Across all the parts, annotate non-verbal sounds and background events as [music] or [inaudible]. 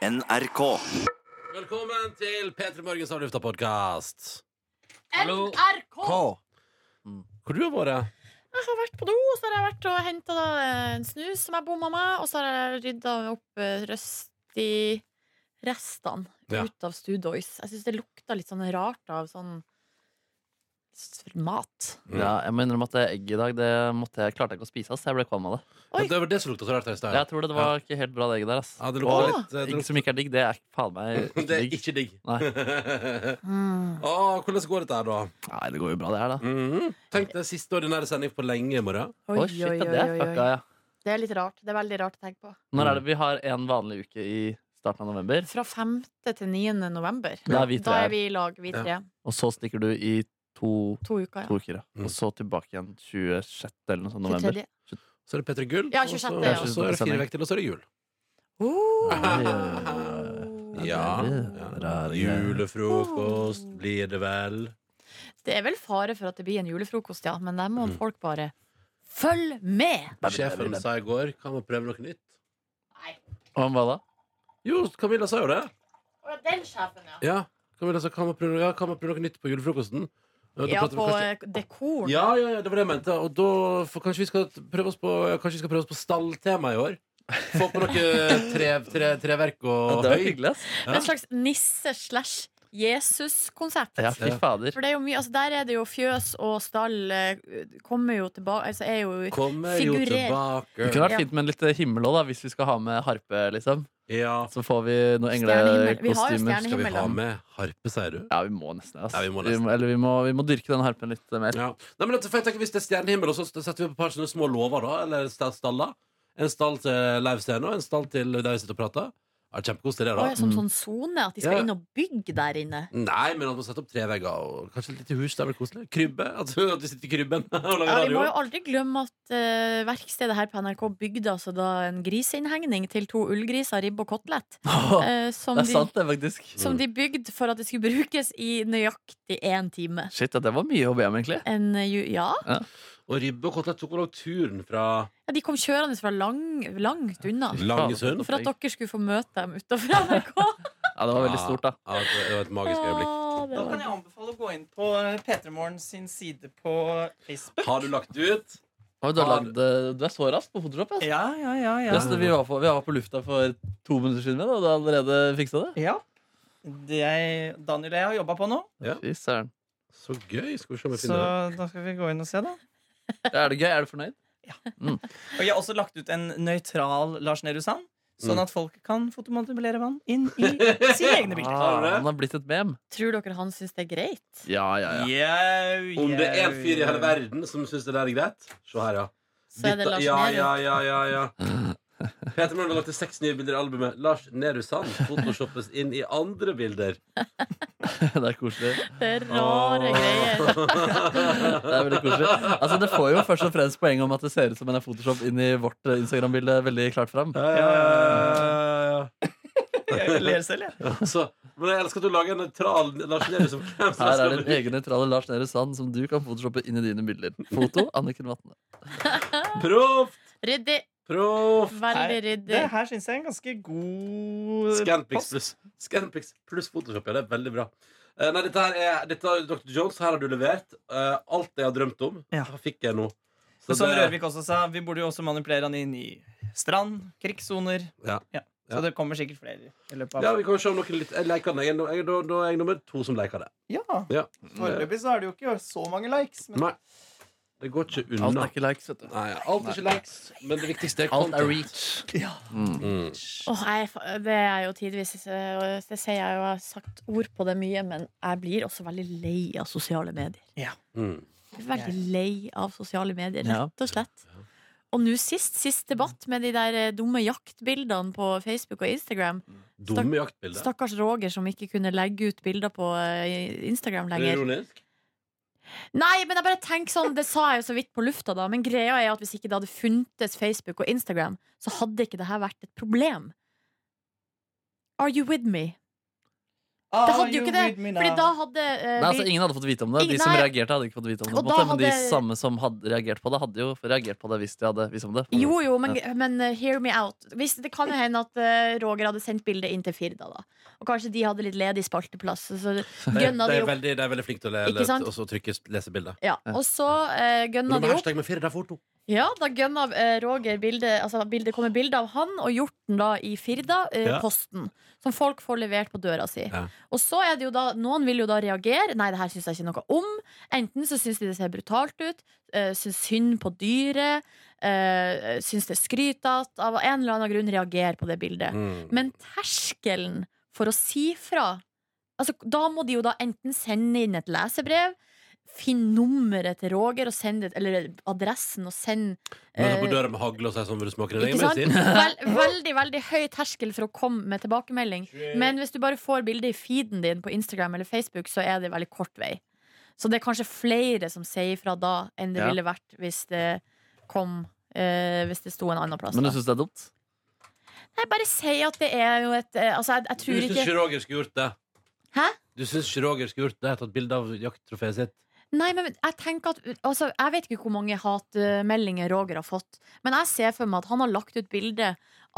NRK. Velkommen til P3 Morgens avlufta-podkast. Hallo. NRK! Hvor du har vært? Jeg har vært på do, så har jeg vært og henta en snus som jeg bomma med, og så har jeg rydda opp eh, røsti-restene Ja. ut av Studois. Jeg syns det lukta litt sånn rart av sånn s- mat. Ja, jeg må innrømme at det egget i dag Det måtte jeg, klarte jeg ikke å spise, ass. Jeg ble kvalm av det. Oi. Ja, Det var det som lukta så rart her i stad. Jeg tror det, det var ikke helt bra, det egget der. Ass. Ja, det Og lukta Åh. litt eh, det egg som ikke er digg, det er faen meg lukta- [laughs] ikke Det er digg. ikke digg. Nei. Mm. [laughs] Å, hvordan går dette her, da? Nei, det går jo bra, det her, da. Mhm. Tenk deg siste ordinære sending på lenge i morgen. Oi, Oi, oi, shit, oi, ja, det er oi, fucka, oi. ja. Det er litt rart. Det er veldig rart å tenke på. Når er Mm. det vi har en vanlig uke i starten av november? Fra 5. til 9. november. Da er vi Da tre er vi i lag, vi Ja. tre. Og så stikker du i to, To uker, ja. to uker, ja. Mm. Og så tilbake igjen 26. eller noe sånt Til november. tredje. Så er det P3 Gull. Ja, og så- 26., ja. Og så er det fire vekk til, og så er det jul. [laughs] Oh. Ja. ja. Julefrokost blir det vel. Det er vel fare for at det blir en julefrokost, ja, men der må Mm. folk bare følge med! Sjefen sa i går kan man prøve noe nytt. Om hva da? Jo, Camilla sa jo det. Den sjefen, ja. Ja, Camilla sa kan man prøve, ja, kan man prøve noe nytt på julefrokosten. Ja, da Ja, prater vi på kanskje- eh, dekoren. Ja, ja, ja, det var det jeg mente. Og da, for kanskje vi skal t- prøve oss på, ja, kanskje vi skal prøve oss på stalltema i år? Få på noe [laughs] tre, tre, treverk og det var høy. hyggelig, ass. En slags nisse slash Jesus-konsept. Ja, fy Ja. fader. For det er jo mye, altså Der er det jo fjøs og stall eh, kommer jo tilbake altså er jo, Kommer jo Figurer. Det kunne tilbake. vært Ja. fint med en litt himmel òg, hvis vi skal ha med harpe, liksom. Ja, Så får vi noen Stjernehimmel. Vi har jo englekostymer. skal vi ha stjernehimmelen. med harpe, sier du? Ja, vi må nesten det. ass. Ja, vi må nesten. eller vi må, vi må dyrke den harpen litt mer. Ja. Nei, men altså, for jeg tenker, Hvis det er stjernehimmel, så setter vi opp et par sånne små låver, da. Eller sta- staller. En stall til livescenen og en stall til der vi sitter og prater. Ja, Kjempekoselig, det, Å, da. ja, Som sånn sone, at de Mm. Ja. skal inn og bygge der inne. Nei, men at man setter opp tre vegger og kanskje et lite hus. Det er vel koselig? Krybbe? At at vi sitter i krybben [laughs] og lager Ja, vi radio? må jo aldri glemme at eh, verkstedet her på NRK bygde altså da en griseinnhengning til to ullgriser, ribbe og kotelett. eh, som det er de- sant, det, faktisk. Som de bygde for at det skulle [laughs] brukes i nøyaktig én time. Shit, ja, det var mye å be om, egentlig. En, eh, ju- ja. Og ribbe og kotelett tok vel også turen fra ja, de kom kjørende fra lang, langt unna. Langesund? For at dere skulle få møte dem utenfor NRK. Ja, det var veldig stort, da. Ja, det var et magisk øyeblikk. Å, det Da kan var... jeg anbefale å gå inn på eh, P3morgen sin side på Facebook. Har du lagt ut? Oi, du, har lagd, eh, du er så rask på Photoshop. ass. Ja, ja, ja. Ja, ja. så det- vi, var på, vi var på lufta for to minutter siden, og du har allerede fiksa det? ja. Det jeg, Daniel og jeg har jobba på nå, Fy søren. Så gøy. Skal vi se om jeg så finner det. da skal vi gå inn og se, da. Er det gøy? Er du fornøyd? Og jeg har også lagt ut en nøytral Lars Nehru Sand, sånn Mm. at folk kan fotomanipulere vann inn i [laughs] [laughs] sine egne bilder. Har du det? Ah, han har blitt et mem. Tror dere han syns det er greit? Ja, ja, ja. Jau, Om det er en jau. fyr i hele verden som syns det der er greit Se her, ja. Så er det Dette- Lars ja, Nehru. ja, ja, ja, ja. Peter Møller har lagt til seks nye bilder i albumet. Lars Nehru Sand photoshoppes inn i andre bilder. [laughs] Det er koselig. Det er rare Åh. greier. [laughs] Det er veldig koselig Altså, det får jo først og fremst poeng om at det ser ut som en er Photoshop inn i vårt eh, Instagram-bilde veldig klart fram. Ja, ja, ja, Jeg ler selv, jeg. ja. Så, men jeg elsker at du lager en nøytral Lars Nehru som hvem som Her er helst din egen nøytrale Lars Nehru Sand som du kan photoshoppe inn i dine bilder. Foto Anniken Vatne. kan- Proff! Ryddig. Proff! Veldig Det ryddig. her syns jeg er en ganske god Scanpix pluss Scanpix pluss Photoshop, ja. Det er veldig bra. Eh, nei, dette her er dette, er Dr. Jones, her har du levert. Eh, alt jeg har drømt om, Ja. fikk jeg nå. Og som sånn det- Rørvik også sa, vi burde jo også manipulere han inn i strand, krigssoner. Ja. Så Ja. det kommer sikkert flere i løpet av ja, vi kan jo se om noen litt Jeg leker den. Jeg, er no- jeg, da, da er jeg nummer to som leker det. Ja. Ja. Foreløpig så er det jo ikke så mange likes. Men Nei. Det går ikke Alt unna. er ikke likes, vet du. Nei, alt er ikke likes, men det viktigste er Alt content. er reach. Mm. Åh, jeg, er fa- det er jo tidvis eh, Det sier jeg jo, jeg har sagt ord på det mye, men jeg blir også veldig lei av sosiale medier. Mm. Jeg er veldig lei av sosiale medier, Ja. rett og slett. Og nå sist, sist debatt med de der eh, dumme jaktbildene på Facebook og Instagram. Dumme jaktbilder. Stakkars Roger som ikke kunne legge ut bilder på eh, Instagram Er det lenger. ironisk? Nei, men jeg bare tenker sånn, det sa jeg jo så vidt på lufta da, men greia er at hvis ikke det hadde funtes Facebook og Instagram, så hadde ikke det her vært et problem. Are you with me? Ah, Det hadde jo ikke det. Fordi da hadde eh, Nei, altså vi- Ingen hadde fått vite om det. Ingen- de som nei. reagerte, hadde ikke fått vite om det. på Og en da måte, Men de hadde- samme som hadde reagert på det, hadde jo reagert på det hvis de hadde visst om det. Jo, jo, men, men eh, hear me out. Hvis, det kan jo hende at eh, Roger hadde sendt bildet inn til Firda. da Og kanskje de hadde litt ledig spalteplass. De Så er, gønna de de er opp. veldig, de er veldig flinke til å le, Ikke sant? og så trykke lesebildet. Ja, og så eh, Men gønna du må de opp. hashtag med Firda fort nå. Ja, da gønna eh, Roger bildet Altså bildet kommer bilde av han og hjorten da i Firda, eh, Ja. posten. Som folk får levert på døra si. Ja. Og så er det jo da Noen vil jo da reagere. Nei, det her syns jeg ikke noe om. Enten så syns de det ser brutalt ut, eh, syns synd på dyret, eh, syns det er skrytete. Av en eller annen grunn reagerer på det bildet. Mm. Men terskelen for å si fra altså, Da må de jo da enten sende inn et lesebrev, finne nummeret til Roger, og sende det, eller adressen, og sende Møter eh, på døra med hagle og sier sånn, vil du smake den? egen ikke sant? medisin?» [laughs] Vel, veldig veldig høy terskel for å komme med tilbakemelding. Men hvis du bare får bildet i feeden din på Instagram eller Facebook, så er det veldig kort vei. Så det er kanskje flere som sier fra da, enn det Ja. ville vært hvis det kom eh, Hvis det sto en annen plass. Men du da. syns det er dumt? Nei, bare si at det er jo et eh, Altså, jeg, jeg Du tror syns ikke ikke Roger skulle gjort det? Hæ? Du syns ikke Roger skulle gjort det? Tatt bilde av jakttrofeet sitt? Nei, men jeg tenker at altså, Jeg vet ikke hvor mange hatmeldinger Roger har fått, men jeg ser for meg at han har lagt ut bilde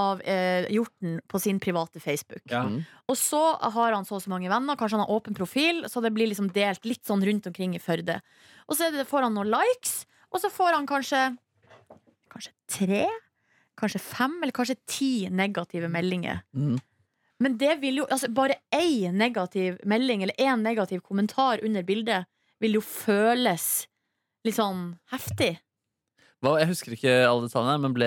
av eh, hjorten på sin private Facebook. Ja. Mm. Og så har han så og så mange venner, kanskje han har åpen profil, så det blir liksom delt litt sånn rundt omkring i Førde. Og så er det, får han noen likes, og så får han kanskje Kanskje tre? Kanskje fem, eller kanskje ti negative meldinger. Mm. Men det vil jo, altså bare én negativ melding eller én negativ kommentar under bildet vil jo føles litt sånn heftig. Hva, jeg husker ikke alle detaljene, men ble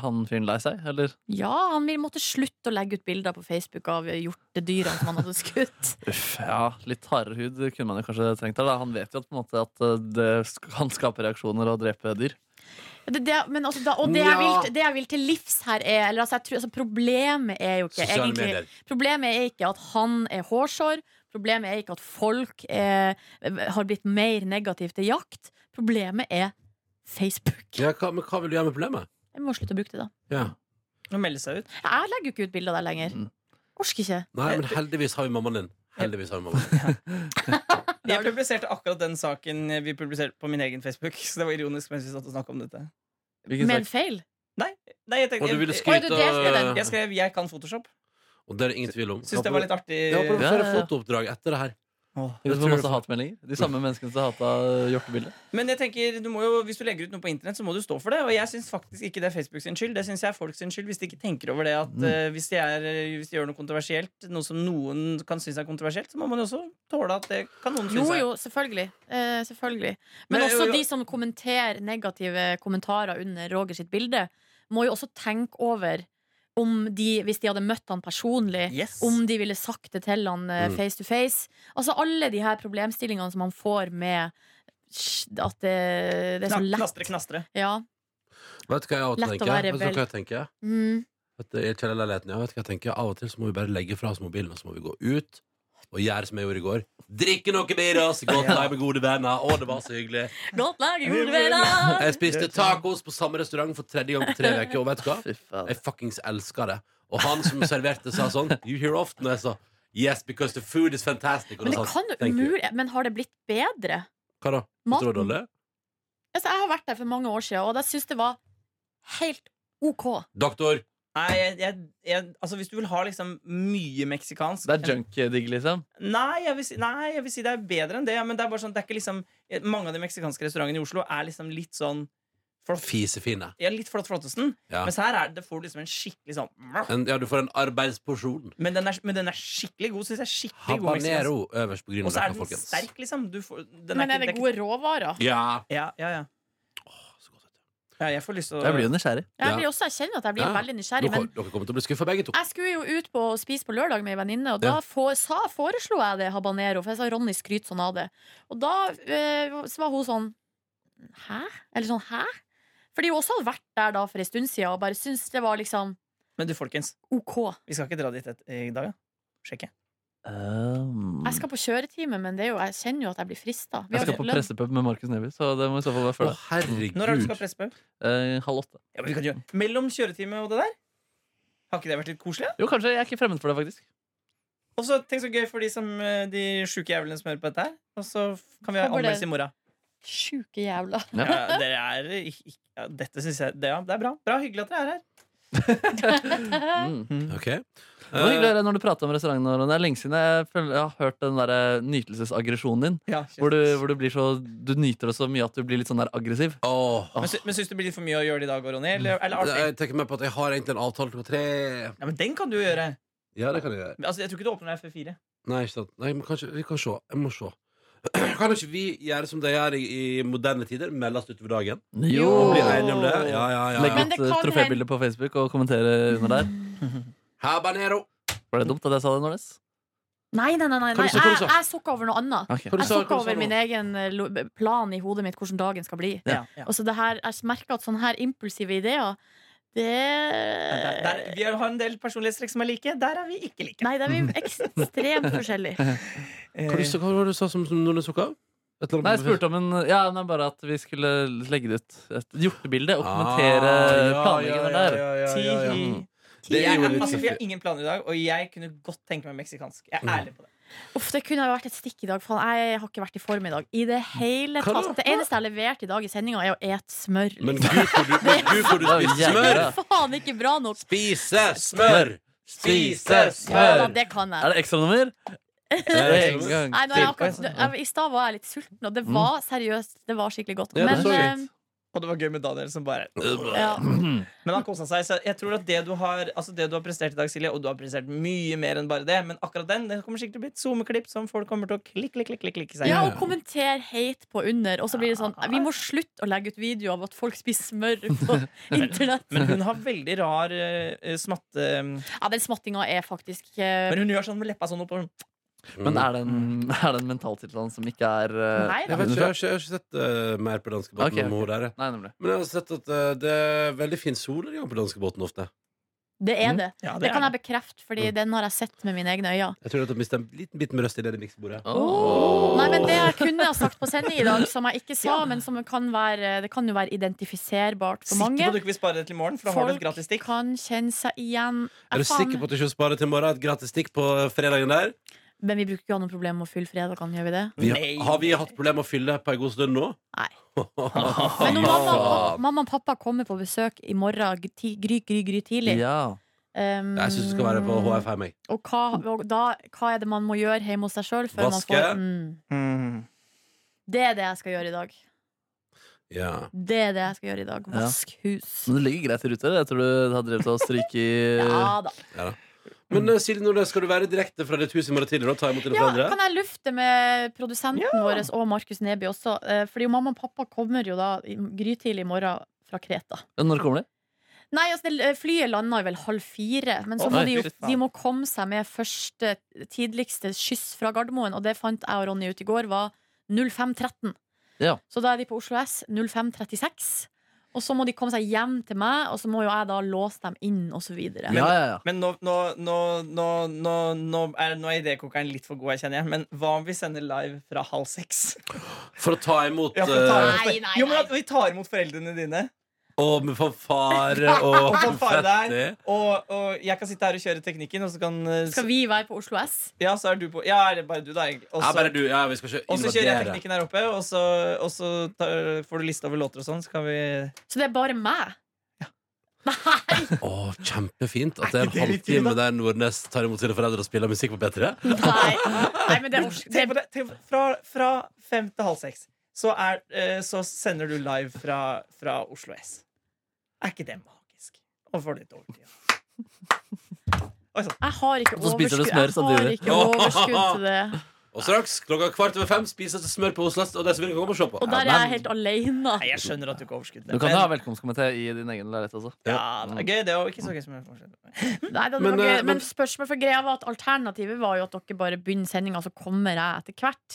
han fyren lei seg, eller? Ja, han vil måtte slutte å legge ut bilder på Facebook av hjortedyra som han hadde [laughs] skutt. Uff, ja, litt hardere hud kunne man jo kanskje trengt der. Da. Han vet jo at, på en måte, at eh, det sk- kan skape reaksjoner og drepe dyr. Det, det, men altså, da, og det jeg, Ja. vil, det jeg vil til livs her, er eller altså, jeg tror, altså, Problemet er jo ikke Sosiale egentlig medier. Problemet er ikke at han er hårsår. Problemet er ikke at folk er, har blitt mer negative til jakt. Problemet er Facebook. Ja, hva, men hva vil du gjøre med problemet? Jeg må slutte å bruke det, da. Ja. Å melde seg ut. Jeg legger jo ikke ut bilder der lenger. Mm. Orsker ikke. Nei, men heldigvis har vi mammaen din. Heldigvis har vi mammaen din. Jeg publiserte akkurat den saken vi publiserte på min egen Facebook. [laughs] Så det var ironisk mens vi satt og snakket om dette. Hvilken Med en sak? feil. Nei, jeg Og tenkte du ville jeg, Oi, du skryte delte jeg skrev 'jeg kan Photoshop'. Og det er det ingen tvil om. Syns det var litt artig. Jeg håper du Ja, får ja, et ja. fotooppdrag etter det her. Åh. Vi får masse hatmeldinger. De samme menneskene som eh, hata hjortebildet. Men jeg tenker, du må jo, hvis du legger ut noe på internett, så må du stå for det. Og jeg syns faktisk ikke det er Facebook sin skyld. Det syns jeg er folk sin skyld hvis de ikke tenker over det at Mm. eh, hvis, de er, hvis de gjør noe kontroversielt, noe som noen kan synes er kontroversielt, så må man jo også tåle at det kan noen Jo, synes er. jo, selvfølgelig. Eh, selvfølgelig. Men, Men- også jo, jo. de som kommenterer negative kommentarer under Roger sitt bilde, må jo også tenke over om de, hvis de hadde møtt han personlig, Yes. om de ville sagt det til han eh, Mm. face to face. Altså alle de her problemstillingene som han får med sj- at det, det er så Kna- Knastre, lett. knastre. Ja. Vet du hva jeg av og til Lett å tenker? være Vet du rebell. hva jeg tenker? Mm. Vet du, i kjellerleiligheten, ja, vet du hva jeg tenker? Av og til så må vi bare legge fra oss mobilen, og så må vi gå ut og gjøre som jeg gjorde i går. Drikke noe biras, gå til deg med gode venner. Å, det var så hyggelig. Godt lag, gode venner! Jeg spiste tacos på samme restaurant for tredje gang på tre [laughs] uker, og vet du hva? Fy faen. Jeg fuckings elsker det. Og han som serverte, sa sånn You hear often? Og jeg sa Yes, because the food is fantastic. Og Men da det sa kan han, jo «Thank you». umulig Men har det blitt bedre? Hva da? Maten. Tror du det var dårlig? Altså, jeg har vært der for mange år siden, og jeg syns det var helt OK. Doktor, Nei, jeg, jeg, jeg, altså hvis du vil ha liksom mye meksikansk Det er junk-digg, liksom. Nei jeg, vil si, nei, jeg vil si det er bedre enn det. Ja, men det er bare sånn, det er ikke liksom Mange av de meksikanske restaurantene i Oslo er liksom litt sånn flott, fisefine. ja, litt flott flottesten. Ja. Mens her er det, får du liksom en skikkelig sånn En, ja, du får en arbeidsporsjon. Men den er, men den er skikkelig god, synes jeg. Skikkelig god meksikansk. Habanero øverst på Og så er Grünerløkka, den folkens. sterk, liksom. Du får, den Men ikke- er det ikke- gode råvarer? Ja. Ja, ja, ja. Så godt, vet du. ja jeg får lyst til å Jeg blir jo nysgjerrig. Jeg Ja. blir også, jeg kjenner at jeg blir Ja. veldig nysgjerrig. Dere, Men dere kommer til å bli skuffa begge to. jeg skulle jo ut på å spise på lørdag med ei venninne, og da Ja. få- sa, foreslo jeg det habanero. For jeg sa Ronny skryter sånn av det. Og da eh, så var hun sånn Hæ? Eller sånn hæ? Fordi hun også hadde vært der da for en stund siden og bare syntes det var liksom Men du, folkens, OK. vi skal ikke dra dit et, i dag, ja? Sjekke. Um, Jeg skal på kjøretime, men det er jo, jeg kjenner jo at jeg blir frista. Vi jeg har skal på lønn. pressepub med Markus Neby, så det må i så fall være Å, før det. herregud. Når er det du skal presse på? Eh, halv åtte. Ja, men vi kan gjøre Mellom kjøretime og det der? Har ikke det vært litt koselig? da? Jo, kanskje. Jeg er ikke fremmed for det, faktisk. Og så tenk så gøy for de, som, eh, de sjuke jævlene som hører på dette her. Og så kan vi ha Håper det- anmeldelse i morgen. Sjuke jævla. Ja. Ja, dere er ik- ja, Dette syns jeg det, ja, det er bra. Bra, Hyggelig at dere er her. Eh. Mm. Ok. Det var hyggelig å høre når du prater om restauranten. Aron. Det er lenge siden jeg, føler, jeg har hørt den der nytelsesaggresjonen din. Hvor du, hvor du blir så Du nyter det så mye at du blir litt sånn der aggressiv. Eh, åh. men, sy men syns du det blir litt for mye å gjøre det i dag, Ronny? Eller, eller artig? Jeg tenker meg på at jeg har egentlig en avtale klokka tre. Ja, men den kan du gjøre. Ja, det kan jeg gjøre. Altså, jeg tror ikke du åpner deg før fire. Nei, ikke sant. Nei, men kanskje, vi kan se. Jeg må se. [clears throat] Kan ikke vi gjøre som de gjør i, i moderne tider? Melde oss utover dagen? Jo. Bli enige om det? Ja, ja, ja. Legg Men ut det kan trofébilder på Facebook og kommentere under der. Habanero! Var det dumt at jeg sa det, Nordnes? Nei, nei, nei, nei, Hva nei. du sa, hva du Jeg, sa? jeg sukka over noe annet. Ok. Hva du Jeg sa- hva sukka du sa over nå? min egen eh, lo- plan i hodet mitt hvordan dagen skal bli. Ja. Ja. Og så det her, Jeg merker at sånne her impulsive ideer, Der, der, det vi har en del personlighetstrekk som er like. Der er vi ikke like. Nei, det er vi ekstremt forskjellige. Hva du Eh, sa- hva var det du sa som, som Nordnes tok av? Et eller annet- Nei, jeg spurte om en Ja, nei, bare at vi skulle legge det ut. Et hjortebilde og kommentere Ah, ja, planleggingen ja, der. ja, ja, ti- ja, ja. Mm. [laughs] Det er Jeg, jo litt altså, vi har fiffig. ingen planer i dag, og jeg kunne godt tenke meg meksikansk. Jeg er Mm. ærlig på det. Uff, Det kunne ha vært et stikk i dag. Faen, jeg har ikke vært i form i dag. I det hele Hva da? tatt. Det eneste jeg har levert i dag i sendinga, er å ete smør. Men Liksom. gud, hvor du, men gud, hvor du Det er jo spiser jævlig smør! bra. Faen, ikke bra nok. Spise smør! Spise Ja, smør! da, det kan jeg. Er det ekstranummer? En gang Nei, nå er til. jeg akkurat, jeg, I stad var jeg litt sulten, og det var seriøst Det var skikkelig godt. Mm. Ja, det Men så eh, ut. Og det var gøy med Daniel som bare Mm. ja, Men han kosa seg. Så jeg tror at det du har Altså det du har prestert i dag, Silje, og du har prestert mye mer enn bare det, men akkurat den det kommer sikkert til å bli et SoMe-klipp som folk kommer til å klikke, klikke, klikke, klikke seg ja, på. og kommenter hate på under. Og så blir det sånn Vi må slutte å legge ut video av at folk spiser smør på [laughs] internett. Men hun har veldig rar eh, smatte... Ja, den smattinga er faktisk eh, Men hun gjør sånn med leppa sånn oppover. [clears throat] Men er det en, er det en mentaltilstand som ikke er eh, Nei Jeg da. vet ikke, jeg har ikke, jeg har ikke sett eh, mer på danskebåten Ok, enn hun der. Nei, nemlig. Men jeg har sett at eh, det er veldig fin sol i gang på danskebåten ofte. Det er det. Mm, Ja, Det er kan jeg bekrefte, Fordi Mm. den har jeg sett med mine egne øyne. Jeg tror at jeg mistet en liten bit med røst i det miksebordet. Åh. Nei, men Det jeg kunne ha sagt på sending i dag, som jeg [laughs] ikke sa, men som kan være, det kan jo være identifiserbart for Sikker på at mange du ikke vil spare det til i morgen, for da har du et gratis Folk stikk. kan kjenne seg igjen. Ja, Er du faen. sikker på at du ikke sparer til i morgen? Et gratis stikk på eh, fredagen der? Men vi bruker ikke å ha noe problem med å fylle fredagene, gjør vi det? Vi, Nei. har vi hatt problemer med å fylle på en god stund nå? Nei. Men Men når mamma, og pappa, mamma og pappa kommer på besøk i morgen g- ti- gry, gry, gry tidlig Ja. um, [laughs] Jeg syns du skal være på HFM. jeg. Og, hva, og da, hva er det man må gjøre hjemme hos seg sjøl? Vaske. mm, Mm. Det er det jeg skal gjøre i dag. Ja. Det er det jeg skal gjøre i dag. Ja. Vask hus. Men det ligger greit i rute. Jeg tror du har drevet og stryket i [laughs] Ja da. Men eh, Silje Nordnes, skal du være direkte fra ditt hus i morgen tidlig? Da? Ta imot dine Ja, foreldre? kan jeg lufte med produsenten vår og Markus Neby også? Eh, Fordi jo mamma og pappa kommer jo da i- grytidlig i morgen fra Kreta. Men Når kommer de? Nei, altså, det- flyet landa vel halv fire, men så Å, må nei, de, fy jo, de må komme seg med første tidligste skyss fra Gardermoen, og det fant jeg og Ronny ut i går, var 05.13. Ja. Så da er de på Oslo S 05.36, og så må de komme seg hjem til meg, og så må jo jeg da låse dem inn, og så videre. Ja, ja, ja. Men nå, nå, nå, nå, nå, nå er, nå er idékokeren litt for god, jeg kjenner jeg. Men hva om vi sender live fra halv seks? For å ta imot Ja, for å ta eh, imot- Nei, nei, Jo, men nei. at vi tar imot foreldrene dine. Og med fanfare og Og fanfare konfetti. der. Og, og jeg kan sitte her og kjøre teknikken, og så kan eh, Skal vi være på Oslo S? Ja, så er du på Ja, er det bare du, da, egentlig. Og Ja, så- bare du. Ja, vi skal ikke og så kjører jeg invadere. teknikken her oppe, og så, og så tar, får du liste over låter og sånn. Så kan vi Så det er bare [laughs] meg? Å, kjempefint at det er en Er ikke det litt fint, halvtime der Nordnes tar imot sine foreldre og spiller musikk på P3. Nei, nei men det er ors- Tenk det på er- det. Tenk, fra, fra fem til halv seks så, er, eh, så sender du live fra, fra Oslo S. Er ikke det magisk? Og får litt overtid. Oi sann. Jeg har ikke Så spiser du overskudd, smør jeg har samtidig. ikke overskudd til [laughs] det. Og straks klokka kvart over fem spises det smør på Oslo S, og det som vil, kan komme og se på. Og der er jeg helt alene. Nei, jeg skjønner at du ikke har overskudd. Du kan jo ha velkomstkomité i din egen leilighet også. ja, det er gøy, det er jo ikke så gøy som jeg forstår. Nei, det var Men, gøy. eh, men- men spørsmålet for greia var at alternativet var jo at dere bare begynner sendinga, så kommer jeg etter hvert.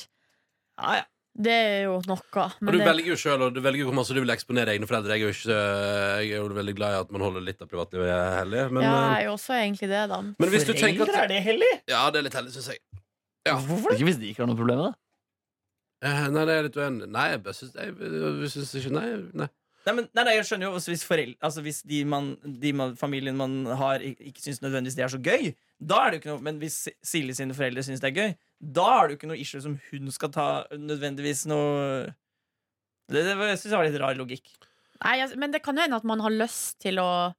Ja, ja. Det er jo noe. Og du Men det, velger jo selv, og du velger jo hvor masse du vil eksponere egne foreldre. Jeg er jo ikke øh, jeg er jo veldig glad i at man holder litt av privatlivet hellig. Men, ja, øh, jeg er jo også egentlig det, da. men hvis du tenker at Foreldre, er det hellig? Ja, det er litt hellig, syns jeg. Ikke hvis de ikke har noe problem med det. Eh, nei, det er litt uenig. Nei, jeg bare syns jeg, jeg syns ikke Nei. nei. Nei, men, nei, nei, jeg altså, skjønner jo også Hvis, foreldre, altså hvis de, man, de man, familien man har, ik- ikke syns nødvendigvis det er så gøy, Da er det jo ikke noe, Men hvis Silje sine foreldre syns det er gøy, da er det jo ikke noe issue som hun skal ta nødvendigvis noe Det, det var- jeg synes det var litt rar logikk. Nei, jeg- men det kan jo hende at man har lyst til å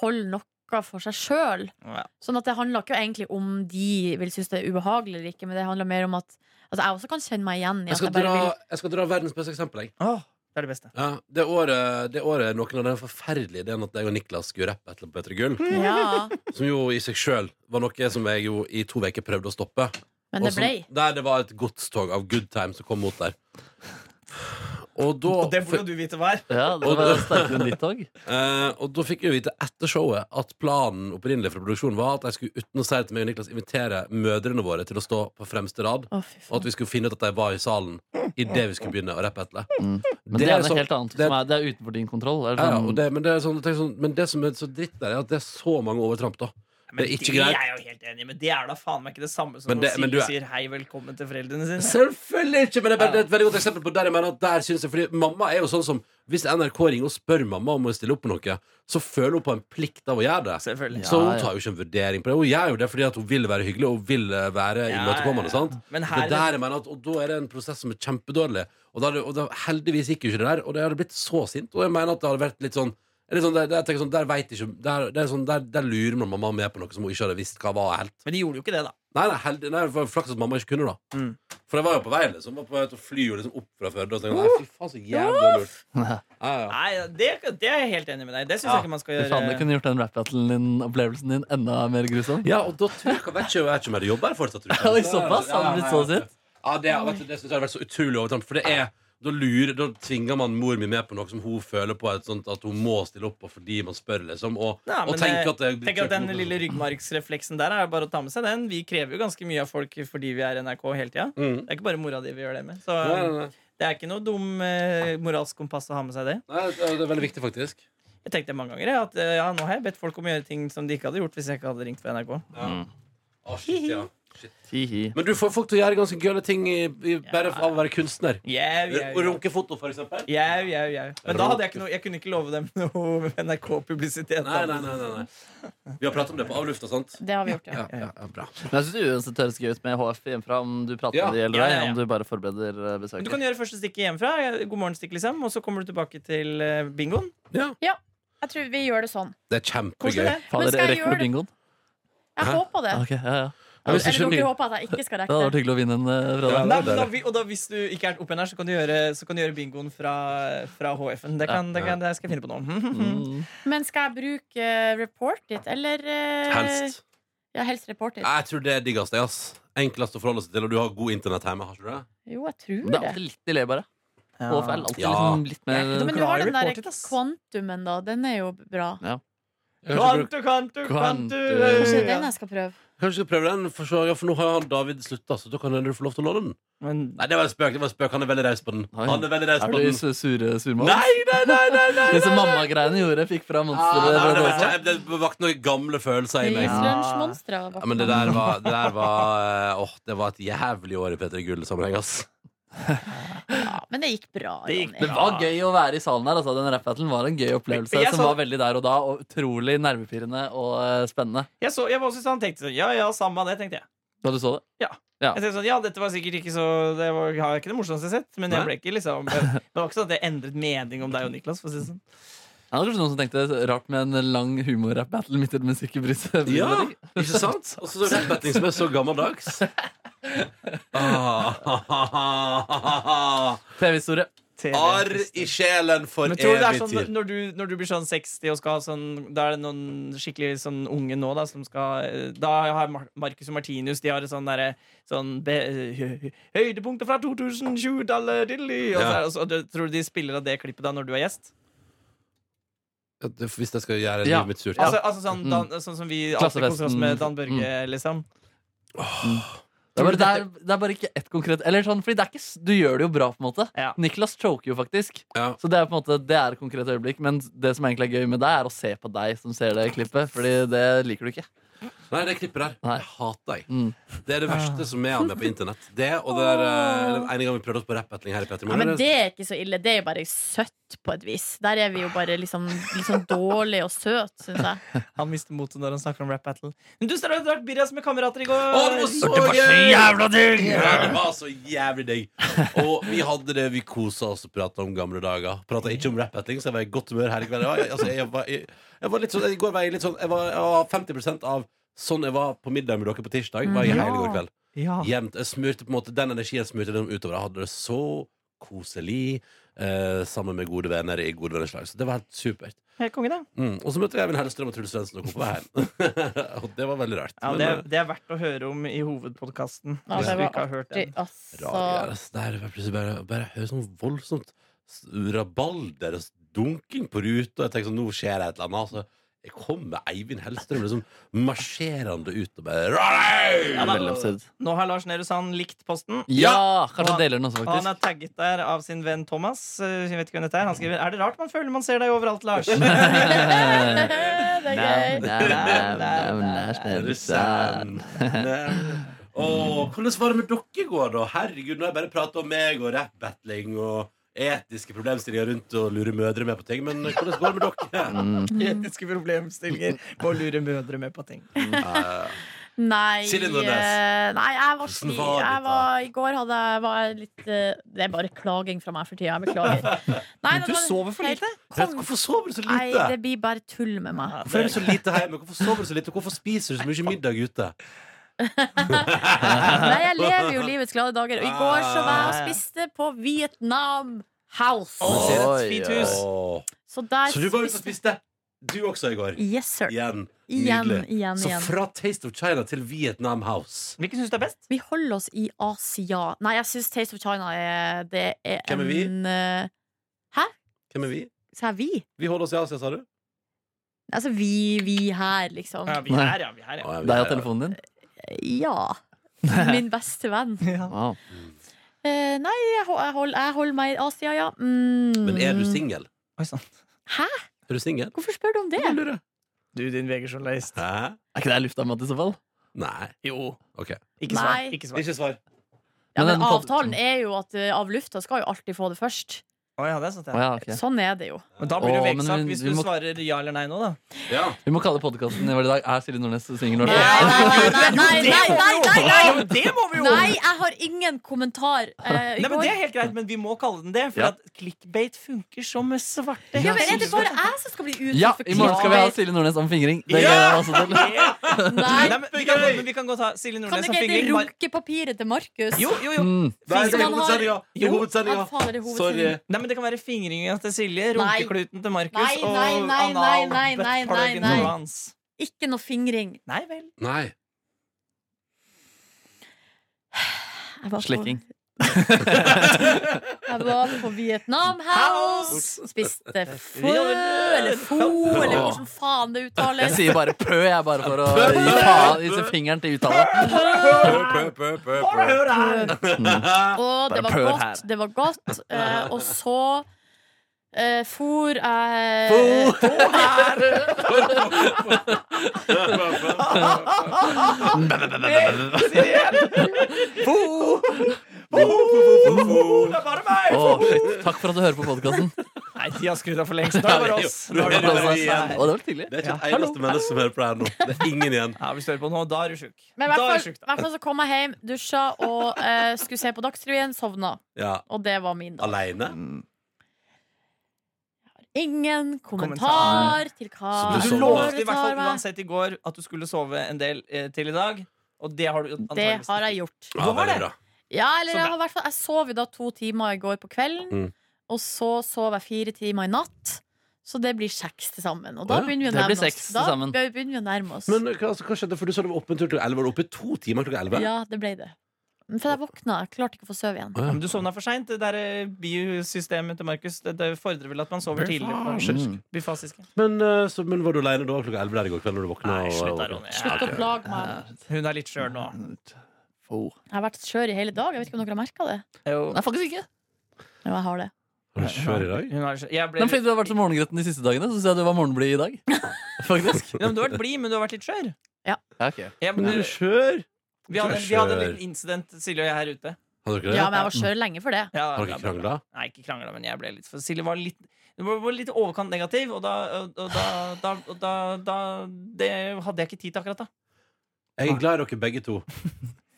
holde noe for seg sjøl. Ja. Sånn at det handler ikke egentlig om de vil synes det er ubehagelig eller ikke, men det handler mer om at altså, jeg også kan kjenne meg igjen i Jeg at skal jeg bare dra, vil jeg skal dra verdens beste eksempel. Jeg. Åh, det er det beste. Ja, det, året, det året noen av den forferdelige ideen at jeg og Niklas skulle rappe etter P3 Gull, Ja, som jo i seg sjøl var noe som jeg jo i to uker prøvde å stoppe. men det Og som- blei. Nei, det var et godstog av good time som kom mot der. Og da, Og det får jo du vite hva er. Ja, det var sterkere enn ditt òg. [laughs] eh, og da fikk vi vite etter showet at planen opprinnelig fra produksjonen var at jeg skulle uten å si det til meg og Niklas invitere mødrene våre til å stå på fremste rad. Å, fy Og at faen. vi skulle finne ut at de var i salen idet vi skulle begynne å rappe etter. Mm. Men Det det, er er noe sånn- helt annet. det- som er, det er utenfor din kontroll. Det er Ja, ja, sånn- og det, men, det er sånn, tenk sånn, men det som er så dritt der, er at det er så mange overtramp, da. Det Men er ikke er greit. jeg jo helt enig i, men det er da faen meg ikke det samme som Men det- når men Silje du sier hei, velkommen til foreldrene sine. Selvfølgelig ikke, men det er, bare, det er et veldig godt eksempel på der jeg mener at der synes jeg Fordi mamma er jo sånn som Hvis NRK ringer og spør mamma om å stille opp på noe, så føler hun på en plikt av å gjøre det. Selvfølgelig. Så hun Ja, ja. tar jo ikke en vurdering på det. Hun gjør jo det fordi at hun vil være hyggelig og hun vil eh, være Ja, imøtekommende. ja, ja. sant? Men Det her, er der jeg mener at, og Da er det en prosess som er kjempedårlig. Og, da, er det- og da, Heldigvis gikk jo ikke det der, og det hadde blitt så sint. Og jeg mener at det hadde vært litt sånn Litt sånn, der, der, tenker jeg sånn, der, vet ikke, der, der, er sånn, der, der lurer man mamma med på noe som hun ikke hadde visst hva var helt. Men de gjorde jo ikke det, da. Nei, nei, heldig, nei det var flaks at mamma ikke kunne, da. Mm. For jeg var jo på vei liksom, var på vei til å fly jo liksom, opp fra Førde. Og så tenkte, jeg, nei, fy faen, så jævla lurt. Ja, ja. Nei, det, det er jeg helt enig med deg. Det syns Ja, jeg ikke man skal Fy gjøre. faen, det kunne gjort den rap-battlen din, opplevelsen din, enda mer grusom. ja, og da tror jeg, jeg vet ikke, jeg vet ikke om jeg hadde jobba her fortsatt. tror jeg. Oi, såpass? Ja, ja, Hadde det ja, blitt så ja. sint? Ja, det, vet du, det synes jeg hadde vært så utrolig overtramp. For det er da, lurer, da tvinger man mor mi med på noe som hun føler på et sånt at hun må stille opp på fordi man spør, liksom. Og, Ja, og men tenker jeg at det tenker at Den lille ryggmargsrefleksen der er jo bare å ta med seg den. Vi krever jo ganske mye av folk fordi vi er NRK hele tida. mm. Det er ikke bare mora di vi gjør det med. Så Nei, nei, nei. det er ikke noe dum eh, moralsk kompass å ha med seg det. nei, det er veldig viktig, faktisk. Jeg tenkte mange ganger jeg, at eh, ja, nå har jeg bedt folk om å gjøre ting som de ikke hadde gjort hvis jeg ikke hadde ringt fra NRK. Å, shit, ja. Hihi. Men du får folk til å gjøre ganske gøle ting i, i, bare av å være kunstner. Jau, jau, jau. Runkefoto, for eksempel. Jau, jau, jau. Men da hadde jeg ikke noe Jeg kunne ikke love dem noe NRK-publisitet. Nei, nei, nei, nei, nei. Vi har pratet om det på avlufta, sant? Det har vi gjort, ja. Ja, ja, ja bra Men jeg syns uansett det høres gøy ut med HF hjemmefra, om du prater Ja. med de eller Ja, ei, ja, ja. om du bare forbereder eh, Men Du besøket. kan gjøre første stikket hjemmefra. God morgen, stikk, liksom. Og så kommer du tilbake til eh, bingoen. Jeg tror vi gjør det sånn. Det er kjempegøy. Koselig, det. Men Fader, skal jeg rekker gjøre du det? bingoen? Jeg Hæ? håper det. Ok, ja, ja. Ja, hvis Eller ikke dere min- håper at jeg ikke skal Det hadde rekke vært det. hyggelig å vinne en Ja, eh, fra deg. det Nei, er men da, det. vi- og da, hvis du ikke er oppe igjen her, så kan du gjøre, så kan du gjøre bingoen fra, fra HF-en. Det, kan, det, kan, det skal jeg finne på [laughs] nå. Mm. Men skal jeg bruke eh, report it, eller eh, Helst. Ja, helst report it. Jeg tror det er diggest, jeg, ass. Enklest å forholde seg til, og du har god internett hjemme, har ikke du det? Jo, jeg tror Men det er det. alltid litt delay, bare. HF er alltid Ja. liksom litt mer Men du glad har i den der report it, ass. kvantumen, da. Den er jo bra. Kantu, kantu, kantu. Kanskje det er Ja. den jeg skal prøve. Kanskje vi skal prøve den, for, så, ja, for nå har han David slutta, så da kan hende du får lov til å låne den. Men Nei, det var en spøk. det var en spøk Han er veldig raus på den. Oi. Han er veldig raus Er på du i den. su- sure surmål? Nei, nei, nei! nei, nei, Det som nei, nei. mammagreiene gjorde, fikk fra Nei, nei, det, var- monsteret. det vakte noen gamle følelser i meg. Ja. Islunsjmonstre. Ja, men det der var Det der var, eh, åh, det var et jævlig år i P3 Gull-sammenheng, ass. Men det gikk bra. Det gikk Ronny. Det var gøy å være i salen her. Altså. Den rap-battlen var en gøy opplevelse Jeg som så- var veldig der og da, og utrolig nervepirrende og eh, spennende. jeg, så, jeg var også sånn, tenkte sånn Ja, ja, samme av det, tenkte jeg. Da du så det? Jeg tenkte sånn, ja, dette var sikkert ikke så Det var har jeg ikke det morsomste jeg har sett, men jeg Nei. ble ikke liksom Det var ikke sånn at jeg endret mening om deg og Niklas. For å si det sånn. Ja, det var kanskje noen som tenkte rart med en lang humor-rap-battle midt i et musikkbryt. Ja, ikke sant? Og så rappetting som er så [laughs] gammeldags. Ah, ha, ha, ha, ha, ha. TV-historie. Arr i sjelen for men tror du det er evig sånn tid. når du, når du blir sånn 60 og skal ha sånn Da er det noen skikkelig sånn unge nå da som skal eh, Da har Mar- Marcus og Martinus De har et sånn derre sånn be, hø- Høydepunkter fra 2020-tallet dilly», Og så Ja. er det også- og du- tror du de spiller av det klippet da når du er gjest? Ja, det- Hvis jeg skal gjøre Ja. livet mitt surt. Altså, altså sånn, Mm. Dan, sånn som vi alltid koser oss med Dan Børge, liksom. Det er, bare, det, er, det er bare ikke ett konkret Eller sånn, fordi det er ikke, s- Du gjør det jo bra, på en måte. Ja. Niklas choker jo faktisk. Ja. Så det er på en måte Det er et konkret øyeblikk. Men det som egentlig er gøy med deg, er å se på deg som ser det klippet. Fordi det liker du ikke. Nei, det klippet der Nei. det hater jeg. Mm. Det er det verste som er med på internett. Det og det er eh, den ene gang vi prøvde oss på rappbattling her i Petter Ja, men det er ikke så ille. Det er jo bare søtt på et vis. Der er vi jo bare liksom, liksom dårlig og søt, syns jeg. Han mister motet når han snakker om rap battle. Men du, Stella, du har vært birras med kamerater i går. sånn, Å, det var så gøy! Ja, det var så jævlig digg. Og vi hadde det, vi kosa oss og prata om gamle dager. Prata ikke om rappbattling, så jeg var i godt humør her i kveld. Jeg, var- altså, jeg, var, jeg, jeg var litt sånn, I går var jeg litt sånn Jeg var, jeg var 50 av sånn jeg var på middag med dere på tirsdag. Var jeg Ja. hele går kveld Ja. Jevnt. Jeg smurte på en måte Den energien smurte jeg utover. Jeg hadde det så koselig eh, sammen med gode venner i gode venners lag. Så det var helt supert. Helt konge, det. Mm. Og så møtte vi Even Hellstrøm og Truls Svendsen og kom på vei hjem. [laughs] og det var veldig rart. Ja, det, Men, eh, det er verdt å høre om i hovedpodkasten. Ja, hvis det du var ikke har hørt Det, den. altså. [laughs] rare, ass. Der var plutselig bare, bare jeg hører sånn voldsomt s- rabalder og s- dunking på ruta. Jeg tenker sånn, nå skjer det et eller annet. Altså, jeg kommer Eivind Hellstrøm liksom marsjerende ut og bare Ja, da. Veldig absurd. Nå har Lars Nehru Sand likt posten. Ja! Kanskje Og- han deler den også, Og han faktisk. er tagget der av sin venn Thomas. Eh, Jeg vet ikke hvem dette er. Han skriver Er det rart man føler man ser deg overalt, Lars? det er gøy. [laughs] Åh, hvordan var det med dere i går, da? Herregud, nå har jeg bare prata om meg og rap-battling og etiske problemstillinger rundt og lure mødre med på ting. Men hvordan går det med dere? Etiske problemstillinger på å lure mødre med på ting. Eh, Nei, Silje Nordnes. eh, nei, jeg var Hvordan sli... var det Jeg da? var, I går hadde jeg var jeg litt eh, Det er bare klaging fra meg for tida. Jeg [laughs] beklager. Nei, Men det du var sover for helt lite. kong- Hvorfor sover du så Nei, lite? det blir bare tull med meg. [laughs] Ja, Hvorfor er det- du så lite hjemme? Hvorfor sover du så lite? Hvorfor spiser du så mye middag ute? Nei, jeg lever jo livets glade dager. Og i går så var jeg og spiste på Vietnam Å, House. ser Oi, et fint hus. Åh. Så der Så du var ute og spiste, du også, i går? Yes, sir. Igjen. Igjen, Nydelig. igjen, Så igjen. fra Taste of China til Vietnam House. Hvilken syns du er best? Vi holder oss i Asia. Nei, jeg syns Taste of China er Det er Hvem er vi? en eh, Hvem er vi? Sa jeg vi? Vi holder oss i Asia, sa du? Altså vi, vi her, liksom. Ja, vi er, ja. Vi er, ja. Å, ja, vi Deg er- og telefonen din? Ja. Min beste venn. ja. Wow. Eh, nei, jeg, hol- jeg, hold, jeg holder meg i Asia, ja. Mm. Men er du singel? Oi sann. Er du singel? Hvorfor spør du om det? Du, din VG-journalist. Hæ? Er ikke det lufta med i så fall? Nei. Jo. Ok. Ikke svar. Nei. Ikke svar. Ikke svar. Ja, Men men den pod- avtalen er jo at eh, av lufta skal jo alltid få det først. Å, ja, det er sant, Å ja. ja, ok. Sånn er det jo. Men da blir Å, du men veksak vi- hvis vi du må- svarer ja eller nei nå, da. Ja. Vi må kalle podkasten i dag Er Silje Nordnes singel? Nei, nei, nei, nei, nei, Jo, det må vi jo! nei, nei, nei. Jo, det må vi jo! Nei, jeg har ingen kommentar. eh, i Nei, men går. Det er helt greit, men vi må kalle den det. For Ja. at clickbait funker som svarte ja, men er det bare jeg som skal bli utsatt Ja, for i morgen skal vi ha clickbait? Silje Nordnes om fingring. Det gleder jeg meg også til. Nei, Nei, men vi kan, godt- men vi kan godt ha Silje Kan Nordnes det som ikke hete fingring. bare- runkepapiret til Markus? Jo, jo, jo. Mm. Nei, det er Som han har- hovedsendinga! Det er Jo, hovedsendinga. han faller i Sorry. hovedsendingen. Nei, men Det kan være fingringa til Silje, Nei. runkekluten til Nei, Markus og nei, nei, nei, nei, nei, nei, analbuttpluggen nei. til Hans. Ikke noe fingring. Nei vel. Nei. Jeg var på- Slikking. Jeg var på Vietnam House. [laughs] Spiste fø eller fo eller hvordan faen det Jeg uttales. sier bare pø, jeg, bare for å gi faen i fingeren til uttale. Pø, pø, pø, pø, pø. Og det var Bare pøl godt. her. Det var godt. Eh, og så eh, for eh, jeg Det er bare meg! Å, shit. Takk for at du hører på podkasten. Nei, de har skrudd av for lengst. Da er det bare oss. Ja, jo. Da er det Nå er det bare vi oss igjen. her. Å, det var tydelig. Det er ikke Ja, et eneste menneske som hører på det her nå. Det er ingen igjen. Ja, Hvis du hører på nå, da er du sjuk. Men Da i er hvert du fall, sjuk, i da. hvert fall så kom jeg hjem, dusja og eh, skulle se på Dagsrevyen, sovna. Ja. Og det var min dag. Aleine? Ingen kommentar, Kommentar. til Så hva du Du sov- jeg lovte i hvert foretar fall meg. uansett i går at du skulle sove en del eh, til i dag. Og det har du Det antageligvis ikke. har jeg gjort. Ja, Hva var veldig det? bra. Ja, eller Så jeg, bra. har i hvert fall, jeg sov jo da to timer i går på kvelden, Mm. og så sov jeg fire timer i natt. Så det blir seks til sammen. Og da Å ja, begynner vi å det blir nærme oss. seks til Da sammen. begynner vi å nærme oss. Men hva, altså, hva skjedde? For du sa det var oppe en tur klokka 11. Var du oppe i to timer klokka 11? Ja, det ble det. Men For jeg våkna. Jeg klarte ikke å få sove igjen. Men du sovna for seint. Det der eh, biosystemet til Markus Det, det fordrer vel at man sover tidligere. på- Mm. Bifasiske. Men, eh, så, men var du aleine da klokka 11 der i går kveld når du våkna? og- Nei, slutt da, og- Ronny. Slutt å plage meg. Hun er litt skjør nå. Få. Jeg har vært skjør i hele dag. Jeg vet ikke om dere har merka det. Nei, faktisk ikke. Jo, jeg har det. Var du skjør i dag? Hun er skjør. Jeg ble, Nei, fordi du har vært så morgengretten de siste dagene, så ser jeg du var morgenblid i dag. Faktisk. Ja, men du har vært blid, men du har vært litt skjør. Ja, ok. Ja, men Men du er du- skjør! vi, hadde, vi hadde en liten incident, Silje og jeg, her ute. Har dere det? Ja, men jeg var skjør lenge for det. Ja, Har ja, dere bra, ikke bra. krangla? Nei, ikke krangla, men jeg ble litt for Silje var litt hun var var litt i overkant negativ, og da, og og da, da, og da, da Det hadde jeg ikke tid til akkurat da. Jeg er glad i dere begge to.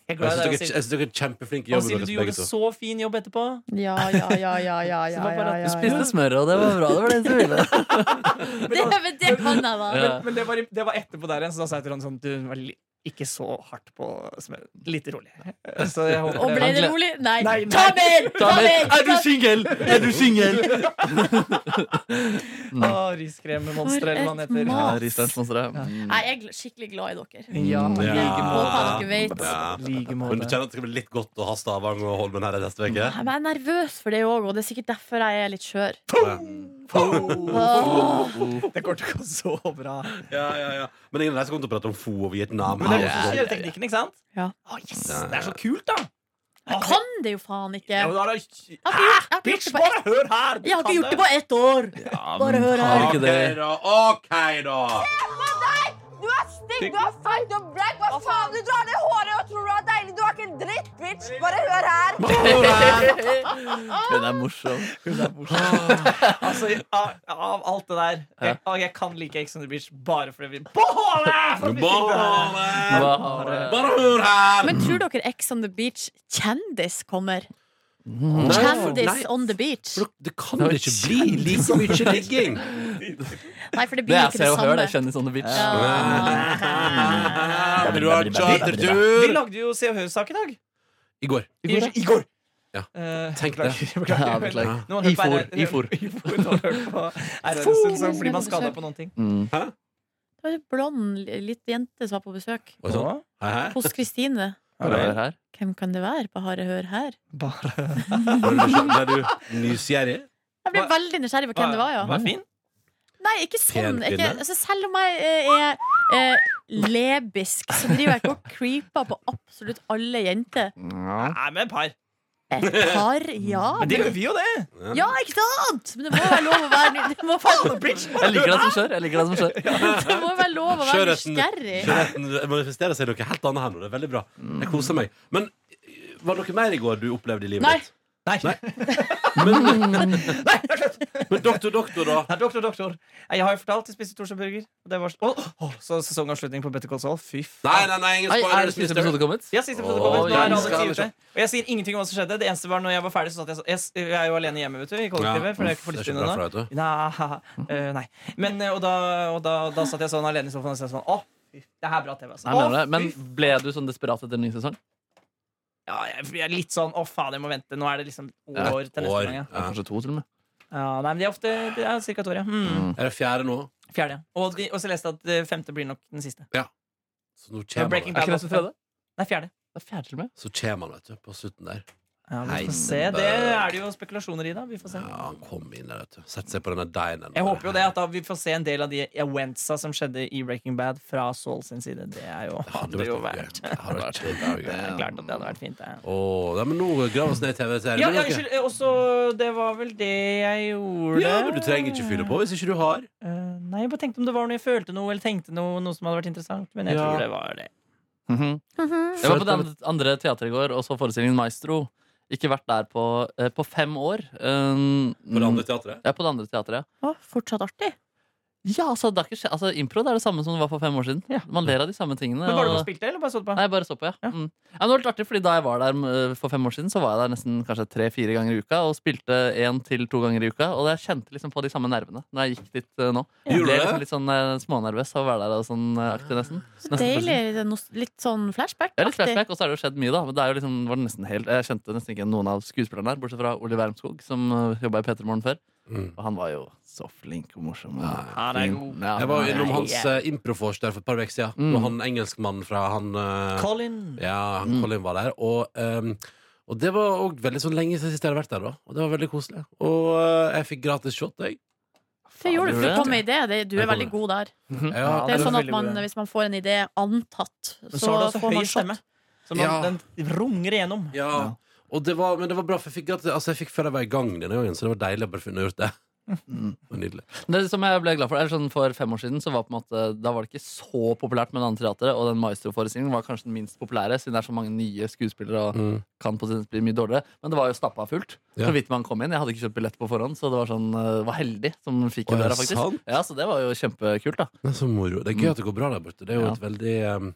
Jeg er Jeg glad i syns deg, Silje. dere, jeg synes dere er kjempeflinke i Og jobben Silje, deres du begge gjorde to. så fin jobb etterpå. Ja, ja, ja, ja, ja, Så det ja, var bare at du ja, ja, ja. Spiste smør, og det var bra. Det var det eneste jeg ville. Det, men det kan jeg, da. Ja. Men det var, i- det var etterpå der igjen, så da sa jeg til han sånn Du var li ikke så hardt på smøret. Litt rolig. Så jeg håper Og ble det rolig? Nei. Nei, nei. Ta mer! Ta mer! Er du singel? Er du singel? Å, Riskrememonsteret, man For et heter. Ja, mat. Ristersmonsteret. Nei, jeg er gl- skikkelig glad i dere. Ja, Mm, i ja. like Håper måte. jeg dere vet. Ja. Men Like du måte. kjenner at det skal bli litt godt å ha Stavang og Holmen her neste uke? Nei, men Jeg er nervøs for det òg, og det er sikkert derfor jeg er litt skjør. Åh. Det går til å gå så bra. Ja, ja, ja. Men ingen av dere som kommer til å prate om FO og Vietnam. Men det her, er du som altså. kjører teknikken, ikke sant? Ja. Å, yes, Det er så kult, da! Jeg kan det jo faen ikke! Ja, men da er Jeg det- har ikke gjort, jeg har ikke Bitch, gjort det på ett, bare hør her! Du jeg har kan ikke gjort det på ett år! Bare hør her. har ikke det. Ok, da. OK, da. Du er stygg, du er feil, du er black. Hva faen? Du drar ned håret og tror du er deilig. Du er ikke en dritt, bitch. Bare hør her. Den er morsom. Altså, av, av alt det der jeg, og jeg kan like Ex on the Beach bare fordi vi Beholde! Bare, Bare- bare hør her! Men tror dere Ex on the Beach kjendis kommer? Nei, for- Kjendis nei, on the beach? for Det kan det ikke bli like mye ligging. Nei, for det Det blir er ikke Se det og Hør, samme. det. Kjendis on the beach. Ah. Ja. Du har Vi chartertur! lagde jo Se og Hør-sak i dag. I går. I går. I går. Ja. Eh, Tenk det. [laughs] beklager, Ja, beklager. beklager. Noen har hørt på Ifor, RR ifor. Ifor, noen har hørt på RR en stund, så blir man skadet på noen ting. Mm. Det var en blond liten jente som var på besøk Og sånn. Hæ, hæ? hos Kristine. Hør her, her. Hvem kan det være? Bare hør her. Bare Ble du- Ble du nysgjerrig? Jeg ble Hva- veldig nysgjerrig på hvem det var. ja Var fin? Nei, ikke sånn. Pen Ikke, kvinne. altså, selv om jeg eh, er eh, lebisk, så driver jeg ikke og creeper på absolutt alle jenter. Nei, men et par. Et par, ja. Men det gjør vi jo, det! Ja, ikke sant? Men det må være lov å være ny- Det må være, Jeg liker deg som skjør. Jeg liker deg som skjør. det må være lov å være Skjørheten- nysgjerrig. Skjønnheten manifesterer seg i noe helt annet her nå. Det er veldig bra. Jeg koser meg. Men eh, var det noe mer i går du opplevde i livet Nei. ditt? Nei. Nei. Men, men doktor, doktor, da? Nei, doktor, doktor. Nei, Jeg har jo fortalt, jeg spiste Torshov-burger. og Det var Åh, åh, så sesongavslutning på Better Call Saul. Fy Nei, faen. nei, nei, ingen Oi, er spoiler. det siste episode kommet? Ja, siste episode Åh, kommer. Nå er jeg alle elsker ti det. ute. Og jeg sier ingenting om hva som skjedde. Det eneste var når jeg var ferdig, så satt jeg sånn jeg, s- jeg er jo alene hjemme, vet du, i kollektivet. For det er ikke for det litt er ikke stund bra ennå. for deg, vet du. Nei, [laughs] eh, nei. Men, eh, og da, og da, da satt jeg sånn alene i sofaen og så sånn Å, fy, det her er bra TV. Altså. Nei, jeg mener Å, det. Men fy- ble du sånn desperat etter en ny sesong? ja, jeg, jeg er litt sånn Å, faen, jeg må vente. Nå er det liksom år Et til neste gang. Ja. Ja, kanskje to, til og med. ja, Nei, men det er ofte Det er ca. et år, ja. Mm. Er det fjerde nå? Fjerde. ja. Og, de, og så leste jeg at eh, femte blir nok den siste. Så nå Men kommer Breaking han. Er ikke det som tredje? Nei, fjerde. Det er fjerde, til og med. Så kommer han, vet du. På slutten der. Ja, vi Nei, får se. men Det bare- er det jo spekulasjoner i, da. Vi får se. Ja, han kom inn der, vet du. Sette seg på denne deinen. Jeg håper jo det at da vi får se en del av de eventsa som skjedde i Breaking Bad, fra Saul sin side. Det er jo Det hadde vært jo noe gøy. vært Det hadde vært Det er kjempegøy. klart at det hadde vært fint. Det. Åh, ja, men nå graver vi oss ned i TV-serien. Ja, Men ja, ok. unnskyld. eh, Også Det var vel det jeg gjorde. Ja, men du trenger ikke fylle på hvis ikke du har. Eh, nei, jeg bare tenkte om det var noe jeg følte noe, eller tenkte noe, noe som hadde vært interessant. Men jeg Ja. tror det var det. Mhm. Jeg var på det andre- andre teateret i går og så forestillingen Maestro. Ikke vært der på, eh, på fem år. Um, På det andre teatret. Ja, på det andre teatret. Å, fortsatt artig. Ja, altså, det har ikke skje- altså Impro det er det samme som det var for fem år siden. Ja. Man ler av de samme tingene. Men var det du og- som spilte, eller bare så du på? Nei, bare så på, ja. Ja. Mm. ja men det var litt artig, fordi Da jeg var der eh, for fem år siden, Så var jeg der nesten kanskje tre-fire ganger i uka og spilte én til to ganger i uka. Og jeg kjente liksom på de samme nervene når jeg gikk dit eh, nå. Jeg Gjorde ble du det? liksom litt sånn eh, smånervøs av å være der og sånn eh, aktig, nesten. Så deilig. det er nos- Litt sånn Ja, litt flashback-aktig. flashback, og så har det jo skjedd mye, da. Men det er jo liksom, var nesten helt, jeg kjente nesten ikke noen av skuespillerne der, bortsett fra Oliver Wermskog, som jobba i P3 Morgen før. Mm. Og han var jo så flink og morsom. og Han er fin. god. Ja, Jeg var jo han er innom god. hans uh, improfors der for et par uker siden. Mm. Når han engelskmannen fra han eh, Colin. Ja, Mm. Colin var der. Og, ehm, og det var òg veldig sånn lenge siden sist jeg hadde vært der. da Og det var veldig koselig. Og eh, jeg fikk gratis shot, jeg. Det gjorde du. Gjorde Du det? kom med idé. Det- Du er Jeg kom veldig med. god der. Mhm. Ja, Det er det var sånn at veldig man, god idé. Hvis man får en idé antatt, Men så har du så også får høy man shot. stemme. Så man, Ja. den runger igjennom. ja. Og det var, men det var bra, for jeg fikk, gratis, altså, jeg fikk føle jeg var i gang denne gangen, så det var deilig å bare finne gjort det. Mm. Det var Nydelig. Det som jeg ble glad For eller sånn for fem år siden Så var på en måte Da var det ikke så populært med det andre teatret, og den Maestro-forestillingen var kanskje den minst populære, siden det er så mange nye skuespillere og Mm. kan potensielt bli mye dårligere. Men det var jo stappa fullt. Ja. Så vidt man kom inn. Jeg hadde ikke kjøpt billett på forhånd, så det var sånn eh, var heldig som fikk Å, en er døra, det faktisk. sant? Ja, Så det var jo kjempekult, da. Det er så moro. Det er gøy at det går bra der borte. Det er jo Mm. Ja. et veldig um,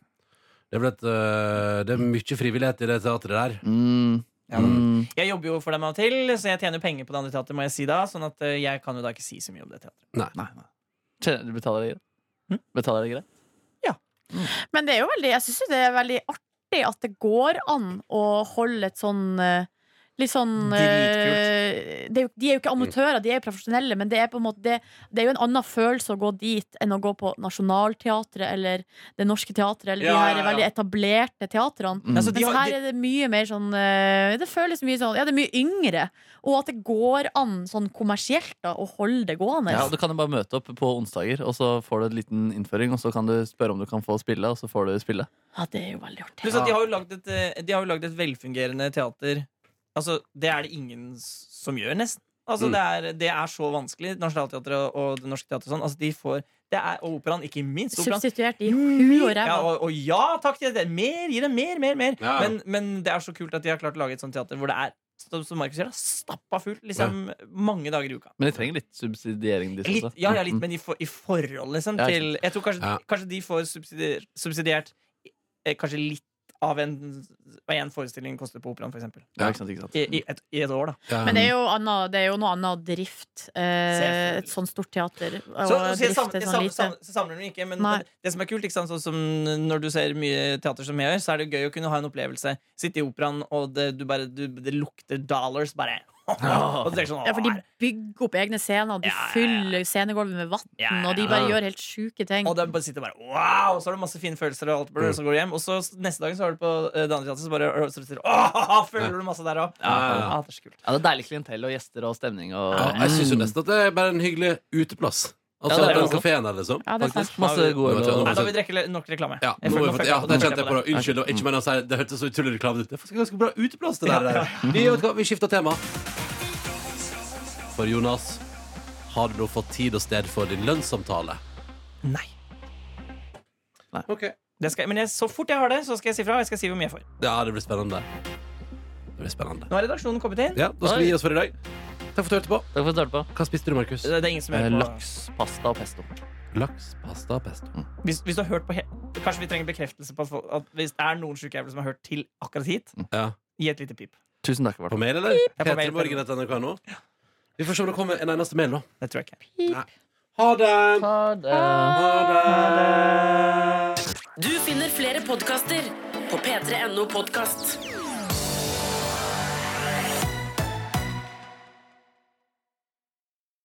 det, er vel et, uh, det er mye frivillighet i det teatret der. Mm. Ja, men- Jeg jobber jo for dem av og til, så jeg tjener penger på det andre teatret, må jeg si da. Sånn at eh, jeg kan jo da ikke si så mye om det teatret. Nei, nei. Tjener- Du betaler deg greit? Hm? Betaler deg greit? Men det er jo veldig, jeg syns jo det er veldig artig at det går an å holde et sånn eh, Litt sånn eh, det er jo, De er jo ikke Mm. amatører, de er jo profesjonelle, men det er, på en måte, det, det er jo en annen følelse å gå dit enn å gå på Nationaltheatret eller Det Norske Teatret eller Ja, de ja, her ja. veldig etablerte teatrene. Mm. Altså, de har, Mens her de, er det mye mer sånn eh, Det føles mye sånn Ja, det er mye yngre. Og at det går an sånn kommersielt da, å holde det gående. Ja, og Du kan jo bare møte opp på onsdager, og så får du en liten innføring, og så kan du spørre om du kan få spille, og så får du spille. Ja, det er jo veldig artig. pluss at de har jo lagd et, eh, de har jo lagd et velfungerende teater. Altså, det er det ingen s- som gjør, nesten. Altså, Mm. det, er, det er så vanskelig. Nationaltheatret og, og Det Norske Teatret og sånn. Altså, de får Det er og operaen, ikke minst. Operaen. Substituert i hu og Mm. Ja, ræva. og, og ja takk til det. Mer, gi dem mer, mer, mer. Ja. Men, men det er så kult at de har klart å lage et sånt teater hvor det er som som Markus sier, da, stappa fullt liksom, mange dager i uka. Men de trenger litt subsidiering, de Litt, også. ja, ja, litt, Mm. men i, for, i forhold liksom, Ja, til Jeg tror kanskje, Ja. kanskje de får subsidiert, subsidiert eh, Kanskje litt av en Hva en forestilling koster på operaen, for eksempel. Ja, ikke sant, ikke sant. I, i, et, I et år, da. Ja. Men det er jo, anna- det er jo noe annet drift. Eh, Selvfølgelig. et sånt stort teater. Og Så, så jeg drift savner, et jeg sånt savner, lite. savner, savner dem ikke, men, Nei. men det som er kult, ikke sant, sånn som når du ser mye teater som jeg gjør, så er det gøy å kunne ha en opplevelse. Sitte i operaen, og det, du bare, du, det lukter dollars, bare. [laughs] Og du tenker sånn, Ja, for de «Åh, bygger opp egne scener, de Ja, ja, ja. fyller scenegulvet med vann, Ja, ja, og de bare ja. gjør helt sjuke ting. Og det er bare sitter bare wow! Så har du masse fine følelser, og alt blir, Mm. så går du hjem. Og så s- neste dagen så har du på eh, det andre teatret, så bare og så sitter, du, åh, [laughs] føler du masse der òg. Ja, ja, ja. Ah, det er så kult. Ja, det er deilig klientell og gjester og stemning og Ja, jeg syns jo nesten at det er bare en hyggelig uteplass. Altså Ja, det er den det også. kafeen der, liksom. Ja, det er sant. Faktisk masse gode Nå Nei, vet øl. da vil vi drikke le- nok reklame. Ja, Jeg nå må føler- nå vi, føler ja, jeg på det det. kjente jeg på. da. Nå føler jeg på det. Unnskyld. og Ikke men å si det hørtes så utrolig reklame ut. Det er faktisk ganske bra uteplass, det der. der. Vi, vet du hva, vi skifter tema. For Jonas, har du nå fått tid og sted for din lønnssamtale? Nei. Det skal, jeg- men jeg, så fort jeg har det, så skal jeg si fra. og Jeg skal si hvor mye jeg får. Ja, det blir spennende. Det blir spennende. Nå har redaksjonen kommet inn. Ja, Da skal vi gi oss for i dag. Takk for at du hørte på. Takk for at du hørte på. Hva spiste du, Markus? Det det er ingen som Eh, hører på. Laks, pasta og pesto. Laks, pasta, pesto. Hvis, hvis du har hørt på he Kanskje vi trenger bekreftelse på at, folk- at hvis det er noen sjukejævler som har hørt til akkurat hit, Ja. gi et lite pip. Tusen takk. Barton. På mail, eller? Ja, på mail. P3morgen.nrk.no. Vi får se om det kommer en eneste mail, da. Det tror jeg ikke. Ha det! Ha det. Du finner flere podkaster på p3.no podkast.